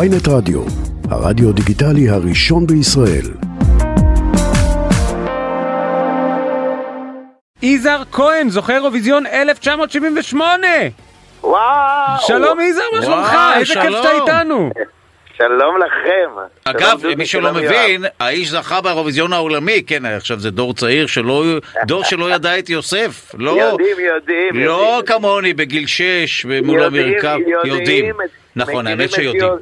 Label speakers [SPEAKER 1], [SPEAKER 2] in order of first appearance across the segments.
[SPEAKER 1] ויינט רדיו, הרדיו דיגיטלי הראשון בישראל.
[SPEAKER 2] יזהר כהן, זוכה אירוויזיון 1978!
[SPEAKER 3] וואו!
[SPEAKER 2] שלום יזהר, מה שלומך?
[SPEAKER 4] וואי,
[SPEAKER 2] איזה כיף
[SPEAKER 4] שלום.
[SPEAKER 2] שאתה איתנו!
[SPEAKER 3] שלום לכם. שלום,
[SPEAKER 4] אגב,
[SPEAKER 3] דודי,
[SPEAKER 4] מי שלא
[SPEAKER 3] שלום, יואב.
[SPEAKER 4] מבין, האיש זכה באירוויזיון העולמי, כן, עכשיו זה דור צעיר שלא, דור שלא ידע את יוסף, לא,
[SPEAKER 3] יודעים, יודעים.
[SPEAKER 4] לא
[SPEAKER 3] יודעים.
[SPEAKER 4] כמוני, בגיל שש, מול
[SPEAKER 3] יודעים,
[SPEAKER 4] המרכב, לא יודעים,
[SPEAKER 3] את-
[SPEAKER 4] נכון,
[SPEAKER 3] מכירים
[SPEAKER 4] האמת
[SPEAKER 3] את
[SPEAKER 4] שיודעים,
[SPEAKER 3] יוס-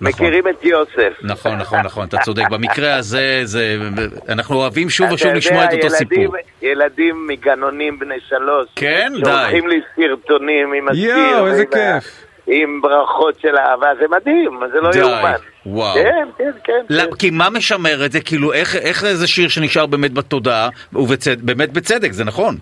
[SPEAKER 4] נכון.
[SPEAKER 3] מכירים את יוסף.
[SPEAKER 4] נכון, נכון, נכון, אתה צודק, במקרה הזה, זה, אנחנו אוהבים שוב
[SPEAKER 3] אתה
[SPEAKER 4] ושוב
[SPEAKER 3] יודע,
[SPEAKER 4] לשמוע את אותו
[SPEAKER 3] ילדים-
[SPEAKER 4] סיפור.
[SPEAKER 3] ילדים מגנונים בני שלוש.
[SPEAKER 4] כן, די.
[SPEAKER 3] שולחים לי סרטונים עם הסיר.
[SPEAKER 2] יואו, איזה
[SPEAKER 3] ועם ה-
[SPEAKER 2] כיף.
[SPEAKER 3] עם ברכות של אהבה, זה מדהים, זה לא
[SPEAKER 4] די,
[SPEAKER 3] יאומן.
[SPEAKER 4] וואו. לא-
[SPEAKER 3] כן, כן, כן.
[SPEAKER 4] למ-
[SPEAKER 3] כן.
[SPEAKER 4] כי מה משמר את זה? כאילו, איך, איך זה שיר שנשאר באמת בתודעה, ובאמת בצדק, זה נכון.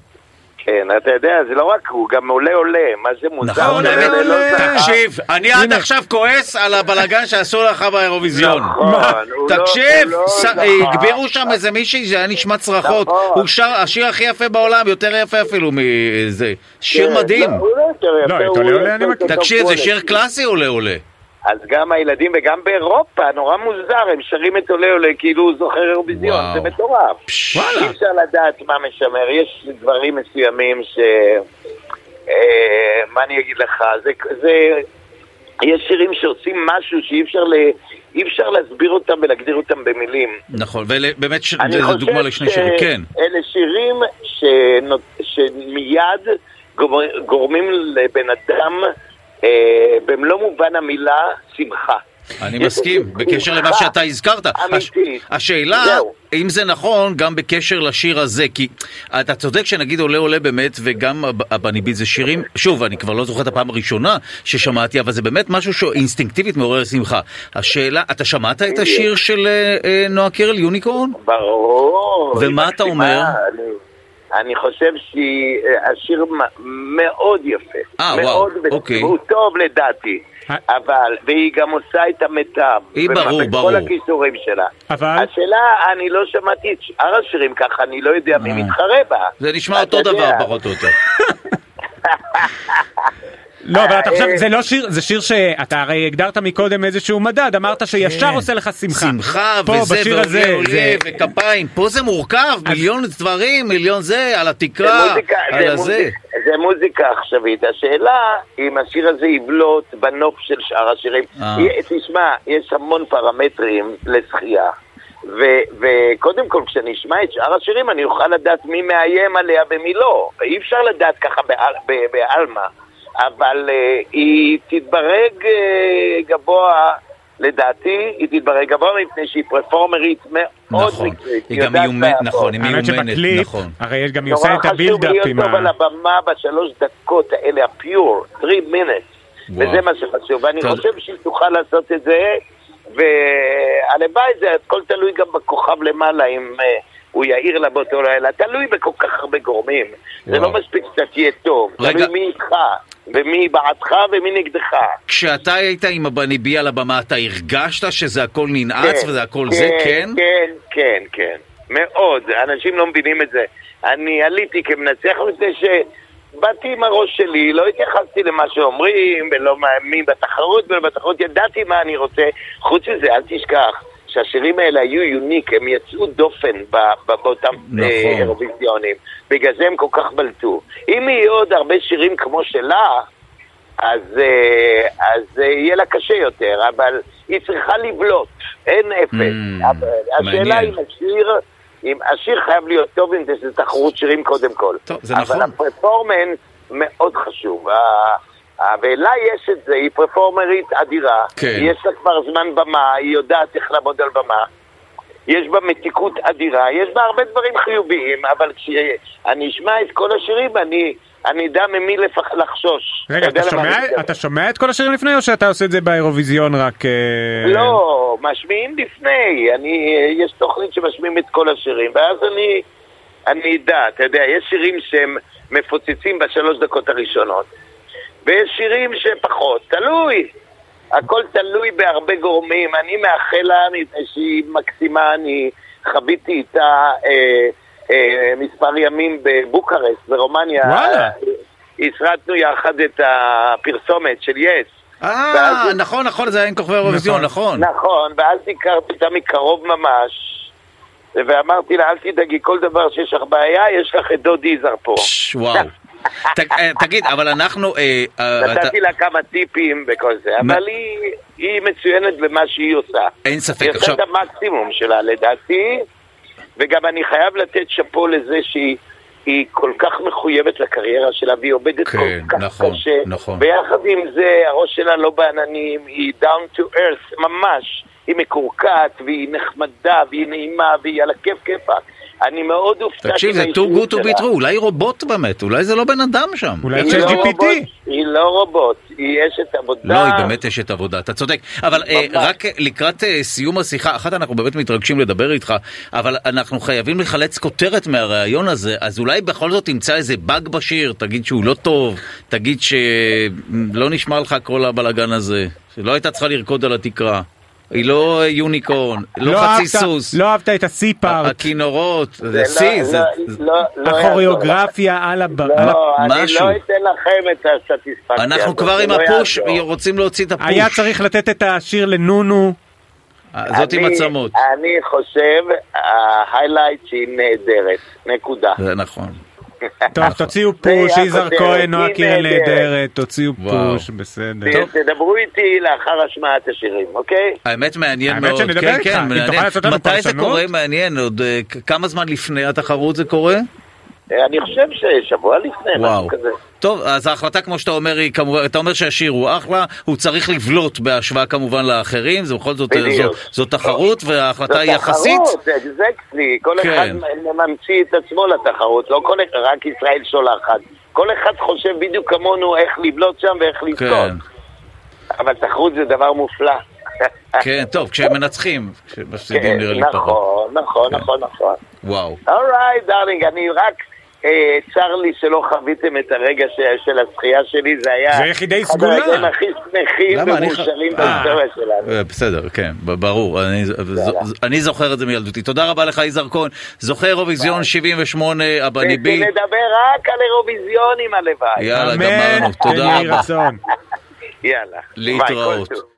[SPEAKER 3] כן, אתה יודע, זה לא רק הוא, גם עולה עולה, מה זה מוזר.
[SPEAKER 4] נכון,
[SPEAKER 3] עולה
[SPEAKER 4] האמת,
[SPEAKER 3] עולה, לא זכה.
[SPEAKER 4] תקשיב, אני עד
[SPEAKER 2] הנה.
[SPEAKER 4] עכשיו כועס על הבלגן שעשו לך באירוויזיון.
[SPEAKER 3] נכון,
[SPEAKER 2] מה?
[SPEAKER 3] הוא לא-
[SPEAKER 4] תקשיב,
[SPEAKER 3] הוא לא
[SPEAKER 4] ס-
[SPEAKER 3] זכה.
[SPEAKER 4] הגבירו שם איזה מישהי, זה היה נשמע צרחות.
[SPEAKER 3] נכון.
[SPEAKER 4] הוא שר, השיר הכי יפה בעולם, יותר יפה אפילו מזה. שיר
[SPEAKER 3] כן,
[SPEAKER 4] מדהים.
[SPEAKER 3] לא, הוא לא יותר יפה,
[SPEAKER 2] את
[SPEAKER 3] הוא
[SPEAKER 2] עולה עולה
[SPEAKER 3] יותר
[SPEAKER 2] אני מכיר.
[SPEAKER 3] טוב
[SPEAKER 4] תקשיב, זה
[SPEAKER 3] כולל.
[SPEAKER 4] שיר קלאסי עולה עולה.
[SPEAKER 3] אז גם הילדים וגם באירופה, נורא מוזר, הם שרים את עולה עולה כאילו הוא זוכר אירוויזיון,
[SPEAKER 4] וואו.
[SPEAKER 3] זה מטורף.
[SPEAKER 2] וואלה.
[SPEAKER 3] אי אפשר לדעת מה משמר, יש דברים מסוימים ש... אה, מה אני אגיד לך, זה... זה... יש שירים שעושים משהו שאי אפשר, ל... אי אפשר להסביר אותם ולהגדיר אותם במילים.
[SPEAKER 4] נכון, ובאמת, ש-
[SPEAKER 3] אני
[SPEAKER 4] זה- זה
[SPEAKER 3] חושב
[SPEAKER 4] דוגמה לשני שירים. כן,
[SPEAKER 3] אלה שירים שנות... שמיד גומר- גורמים לבן אדם, אה, במלוא מובן המילה, שמחה.
[SPEAKER 4] אני
[SPEAKER 3] יש-
[SPEAKER 4] מסכים, בקשר למה
[SPEAKER 3] שמחה.
[SPEAKER 4] שאתה הזכרת. הש-
[SPEAKER 3] אמיתית.
[SPEAKER 4] השאלה,
[SPEAKER 3] זהו.
[SPEAKER 4] אם זה נכון, גם בקשר לשיר הזה, כי אתה צודק שנגיד עולה עולה באמת, וגם הב- הבניבית זה שירים, שוב, אני כבר לא זוכר את הפעם הראשונה ששמעתי, אבל זה באמת משהו שאינסטינקטיבית מעורר שמחה. השאלה, אתה שמעת את השיר של אה, אה, נועה קירל, יוניקורן?
[SPEAKER 3] ברור.
[SPEAKER 4] נכון? ומה
[SPEAKER 3] היא
[SPEAKER 4] אתה
[SPEAKER 3] מקסימה,
[SPEAKER 4] אומר?
[SPEAKER 3] אני, אני חושב שהשיר מאוד יפה.
[SPEAKER 4] אה,
[SPEAKER 3] מאוד
[SPEAKER 4] וואו,
[SPEAKER 3] וטוב,
[SPEAKER 4] אוקיי.
[SPEAKER 3] הוא טוב לדעתי.
[SPEAKER 2] אה.
[SPEAKER 3] אבל, והיא גם עושה את המיטב.
[SPEAKER 4] היא
[SPEAKER 3] ומ-
[SPEAKER 4] ברור, ברור.
[SPEAKER 3] בכל הכישורים שלה.
[SPEAKER 2] אבל?
[SPEAKER 3] השאלה, אני לא שמעתי את שאר השירים ככה, אני לא יודע מי
[SPEAKER 4] אה.
[SPEAKER 3] מתחרה בה.
[SPEAKER 4] זה נשמע
[SPEAKER 3] אתה
[SPEAKER 4] אותו דבר,
[SPEAKER 3] יודע.
[SPEAKER 4] פחות או יותר.
[SPEAKER 2] לא, אבל אתה
[SPEAKER 3] אה,
[SPEAKER 2] עכשיו,
[SPEAKER 3] אה.
[SPEAKER 2] זה לא שיר, זה שיר שאתה הרי הגדרת מקודם איזשהו מדד, אמרת שישר עושה לך שמחה.
[SPEAKER 4] כן. שמחה,
[SPEAKER 2] פה,
[SPEAKER 4] וזה,
[SPEAKER 2] בשיר הזה,
[SPEAKER 4] ועולה עולה,
[SPEAKER 2] זה-
[SPEAKER 4] וכפיים. פה זה מורכב, מיליון דברים, מיליון זה, על
[SPEAKER 3] זה
[SPEAKER 4] התקרה,
[SPEAKER 3] מוזיקה-
[SPEAKER 4] על
[SPEAKER 3] זה
[SPEAKER 4] הזה.
[SPEAKER 3] מוזיק- זה מוזיקה עכשווית. השאלה אם השיר הזה יבלוט בנוף של שאר השירים.
[SPEAKER 4] אה.
[SPEAKER 3] יה- תשמע, יש המון פרמטרים לזכייה. ו- וקודם כל, כשנשמע את שאר השירים, אני אוכל לדעת מי מאיים עליה ומי לא. אי אפשר לדעת ככה בעל- ב- בעלמא. אבל אה, היא תתברג אה, גבוה, לדעתי, היא תתברג גבוה מפני שהיא פרפורמרית מאוד
[SPEAKER 4] נכון,
[SPEAKER 3] מקצועית.
[SPEAKER 4] היא גם
[SPEAKER 3] יודעת
[SPEAKER 4] מיומנת,
[SPEAKER 3] לעבוד.
[SPEAKER 4] נכון, היא
[SPEAKER 2] האמת
[SPEAKER 4] מיומנת,
[SPEAKER 2] שבקליפ,
[SPEAKER 4] נכון.
[SPEAKER 2] הרי גם היא
[SPEAKER 3] נורא
[SPEAKER 2] עושה את
[SPEAKER 3] חשוב
[SPEAKER 2] הבילדאפ
[SPEAKER 3] להיות
[SPEAKER 2] עם
[SPEAKER 3] טוב
[SPEAKER 2] ה...
[SPEAKER 3] על הבמה בשלוש דקות האלה, הפיור, 3 minutes,
[SPEAKER 4] וואו.
[SPEAKER 3] וזה מה שחשוב, ואני
[SPEAKER 4] תודה.
[SPEAKER 3] חושב שהיא תוכל לעשות את זה, והלוואי זה הכל תלוי גם בכוכב למעלה, אם אה, הוא יעיר לה באותו לילה, תלוי בכל כך הרבה גורמים, זה
[SPEAKER 4] וואו.
[SPEAKER 3] לא מספיק שאתה תהיה טוב,
[SPEAKER 4] רגע.
[SPEAKER 3] תלוי מי איתך, ומי בעדך ומי נגדך.
[SPEAKER 4] כשאתה היית עם הבניבי על הבמה, אתה הרגשת שזה הכל ננעץ
[SPEAKER 3] כן,
[SPEAKER 4] וזה הכל זה, כן?
[SPEAKER 3] כן, כן, כן. מאוד. אנשים לא מבינים את זה. אני עליתי כמנצח מפני שבאתי עם הראש שלי, לא התייחסתי למה שאומרים, ולא מאמין בתחרות, ובתחרות ידעתי מה אני רוצה. חוץ מזה, אל תשכח. שהשירים האלה היו יוניק, הם יצאו דופן ב- ב- באותם
[SPEAKER 4] נכון.
[SPEAKER 3] אה, אירוויזיונים, בגלל זה הם כל כך בלטו. אם יהיו עוד הרבה שירים כמו שלה, אז, אה, אז אה, יהיה לה קשה יותר, אבל היא צריכה לבלוט, אין אפס.
[SPEAKER 4] Mm,
[SPEAKER 3] אבל השאלה
[SPEAKER 4] מעניין.
[SPEAKER 3] אם השיר, אם השיר חייב להיות טוב עם זה, שזה תחרות שירים קודם כל.
[SPEAKER 4] טוב, זה נכון.
[SPEAKER 3] אבל הפרפורמנס מאוד חשוב. ה- ה- ולה יש את זה, היא פרפורמרית אדירה.
[SPEAKER 4] כן.
[SPEAKER 3] יש לה כבר זמן במה, היא יודעת איך לעמוד על במה. יש בה מתיקות אדירה, יש בה הרבה דברים חיוביים, אבל כשאני אשמע את כל השירים, אני, אני אדע ממי לפח, לחשוש.
[SPEAKER 2] רגע,
[SPEAKER 3] יודע
[SPEAKER 2] אתה
[SPEAKER 3] למה אני
[SPEAKER 2] שומע-
[SPEAKER 3] מתכוון.
[SPEAKER 2] אתה שומע את כל השירים לפני, או שאתה עושה את זה באירוויזיון רק... אה,
[SPEAKER 3] לא, משמיעים לפני. אני, יש תוכנית שמשמיעים את כל השירים, ואז אני, אני אדע, אתה יודע, יש שירים שהם מפוצצים בשלוש דקות הראשונות, ויש שירים שפחות, תלוי. הכל תלוי בהרבה גורמים. אני מאחל לה מפני שהיא מקסימה, אני חוויתי איתה אה, אה, מספר ימים בבוקרשט, ברומניה. אה,
[SPEAKER 2] וואלה.
[SPEAKER 3] הסרטנו יחד את הפרסומת של יס.
[SPEAKER 4] אה,
[SPEAKER 3] ואז-
[SPEAKER 4] נכון, נכון, זה היה עם כוכבי האירוויזיון, נכון.
[SPEAKER 3] נכון, ואז הכרתי אותה מקרוב ממש, ואמרתי לה, אל תדאגי, כל דבר שיש לך בעיה, יש לך את דוד יזהר פה.
[SPEAKER 4] פש, וואו. ת- אה, תגיד, אבל אנחנו... אה, אה, אתה-
[SPEAKER 3] נתתי לה כמה טיפים וכל זה,
[SPEAKER 4] מה-
[SPEAKER 3] אבל היא- היא מצוינת במה שהיא עושה.
[SPEAKER 4] אין ספק,
[SPEAKER 3] היא עושה
[SPEAKER 4] עכשיו-
[SPEAKER 3] את המקסימום שלה לדעתי, וגם אני חייב לתת שאפו לזה שהיא היא כל כך מחויבת לקריירה שלה, והיא עובדת
[SPEAKER 4] כן,
[SPEAKER 3] כל כך
[SPEAKER 4] נכון,
[SPEAKER 3] קשה.
[SPEAKER 4] נכון.
[SPEAKER 3] ביחד עם זה, הראש שלה לא בעננים, היא down to earth, ממש. היא מקורקעת, והיא נחמדה, והיא נעימה, והיא על הכיף כיפאק. אני מאוד הופתעתי
[SPEAKER 4] תקשיב, זה too
[SPEAKER 3] מהאישיות
[SPEAKER 4] good to
[SPEAKER 3] שלה.
[SPEAKER 4] be true, אולי היא רובוט באמת, אולי זה לא בן אדם שם.
[SPEAKER 2] אולי
[SPEAKER 3] היא
[SPEAKER 2] צ'אט
[SPEAKER 3] לא
[SPEAKER 2] GPT.
[SPEAKER 3] רובוט, היא לא רובוט, היא אשת עבודה.
[SPEAKER 4] לא, היא באמת אשת עבודה, אתה צודק. אבל אה,
[SPEAKER 3] אה. ממש.
[SPEAKER 4] רק אה, לקראת אה, סיום השיחה, אחת אנחנו באמת מתרגשים לדבר איתך, אבל אנחנו חייבים לחלץ כותרת מהראיון הזה, אז אולי בכל זאת תמצא איזה באג בשיר, תגיד שהוא לא טוב, תגיד שלא נשמע לך כל הבלגן הזה, שלא הייתה צריכה לרקוד על התקרה. היא לא אה, יוניקורן, לא חצי
[SPEAKER 2] אהבת-
[SPEAKER 4] סוס, אה,
[SPEAKER 2] לא אהבת את הסי-פארט,
[SPEAKER 4] הכינורות,
[SPEAKER 3] זה
[SPEAKER 4] זה
[SPEAKER 3] לא-
[SPEAKER 4] שיא,
[SPEAKER 3] לא-
[SPEAKER 4] זה... זה-
[SPEAKER 3] לא- לא יעזור.
[SPEAKER 2] הכוריאוגרפיה על הב... על ה-
[SPEAKER 3] לא, אני
[SPEAKER 4] משהו.
[SPEAKER 3] לא אתן לכם את הסטטיספקציה.
[SPEAKER 4] אנחנו
[SPEAKER 3] הזאת,
[SPEAKER 4] כבר
[SPEAKER 3] זה
[SPEAKER 4] עם
[SPEAKER 3] לא
[SPEAKER 4] הפוש,
[SPEAKER 3] יעזור.
[SPEAKER 4] רוצים להוציא את הפוש.
[SPEAKER 2] היה צריך לתת את השיר לנונו.
[SPEAKER 4] אה, זאת עם
[SPEAKER 3] אני-
[SPEAKER 4] עצמות.
[SPEAKER 3] אני חושב, ההיילייט שהיא נהדרת, נקודה.
[SPEAKER 4] זה נכון.
[SPEAKER 2] טוב, תוציאו פוש,
[SPEAKER 3] זה
[SPEAKER 2] יזהר
[SPEAKER 3] הכותרת,
[SPEAKER 2] כהן, נועה
[SPEAKER 3] היא
[SPEAKER 2] קירל
[SPEAKER 3] נהדרת.
[SPEAKER 2] נהדרת, תוציאו
[SPEAKER 4] וואו.
[SPEAKER 2] פוש, בסדר.
[SPEAKER 4] טוב.
[SPEAKER 3] תדברו איתי לאחר השמעת השירים, אוקיי?
[SPEAKER 4] האמת מעניין
[SPEAKER 2] האמת
[SPEAKER 4] מאוד,
[SPEAKER 2] שנדבר
[SPEAKER 4] כן
[SPEAKER 2] איתך,
[SPEAKER 4] כן,
[SPEAKER 2] אם
[SPEAKER 4] מעניין.
[SPEAKER 2] תוכל לעשות לנו
[SPEAKER 4] מתי זה
[SPEAKER 2] פרשנות?
[SPEAKER 4] קורה מעניין, עוד אה, כ- כמה זמן לפני התחרות זה קורה?
[SPEAKER 3] אני חושב ששבוע לפני, משהו
[SPEAKER 4] וואו.
[SPEAKER 3] כזה.
[SPEAKER 4] טוב, אז ההחלטה כמו שאתה אומר, היא כמובן, אתה אומר שהשיר הוא אחלה, הוא צריך לבלוט בהשוואה כמובן לאחרים, זה בכל זאת, אה, זו,
[SPEAKER 3] בדיוק.
[SPEAKER 4] זו תחרות
[SPEAKER 3] זו
[SPEAKER 4] וההחלטה היא
[SPEAKER 3] תחרות,
[SPEAKER 4] יחסית.
[SPEAKER 3] אקזקטלי, כל
[SPEAKER 4] כן.
[SPEAKER 3] אחד ממציא את עצמו לתחרות, לא כל אחד, רק ישראל שולחת. כל אחד חושב בדיוק כמונו איך לבלוט שם ואיך לזכות.
[SPEAKER 4] כן,
[SPEAKER 3] אבל תחרות זה דבר מופלא.
[SPEAKER 4] כן, טוב, כשמנצחים, כשמפסידים נראה לי פחות.
[SPEAKER 3] כן,
[SPEAKER 4] כן.
[SPEAKER 3] נכון, נכון, נכון, נכון.
[SPEAKER 4] וואו.
[SPEAKER 3] אורייט, דארלינג, אני רק... אה, צר לי שלא חוויתם את הרגע ש- של הזכייה שלי, זה היה...
[SPEAKER 2] זה יחידי
[SPEAKER 3] אחד
[SPEAKER 2] סגולה.
[SPEAKER 3] הרגעים הכי שמחים
[SPEAKER 4] למה? אני ח-
[SPEAKER 3] ומאושרים
[SPEAKER 4] אה.
[SPEAKER 3] בהיסטוריה שלנו.
[SPEAKER 4] אה, בסדר, כן, ב- ברור, אני, ז- אני זוכר את זה מילדותי. תודה רבה לך, יזהר כהן. זוכר אירוויזיון 78, הבני בי.
[SPEAKER 3] ונדבר רק על אירוויזיונים הלוואי.
[SPEAKER 4] יאללה,
[SPEAKER 2] אמן,
[SPEAKER 4] גמרנו, תודה
[SPEAKER 2] כן יהי
[SPEAKER 4] רבה.
[SPEAKER 2] רצון.
[SPEAKER 3] יאללה. ביי, כל
[SPEAKER 4] להתראות.
[SPEAKER 3] טוב.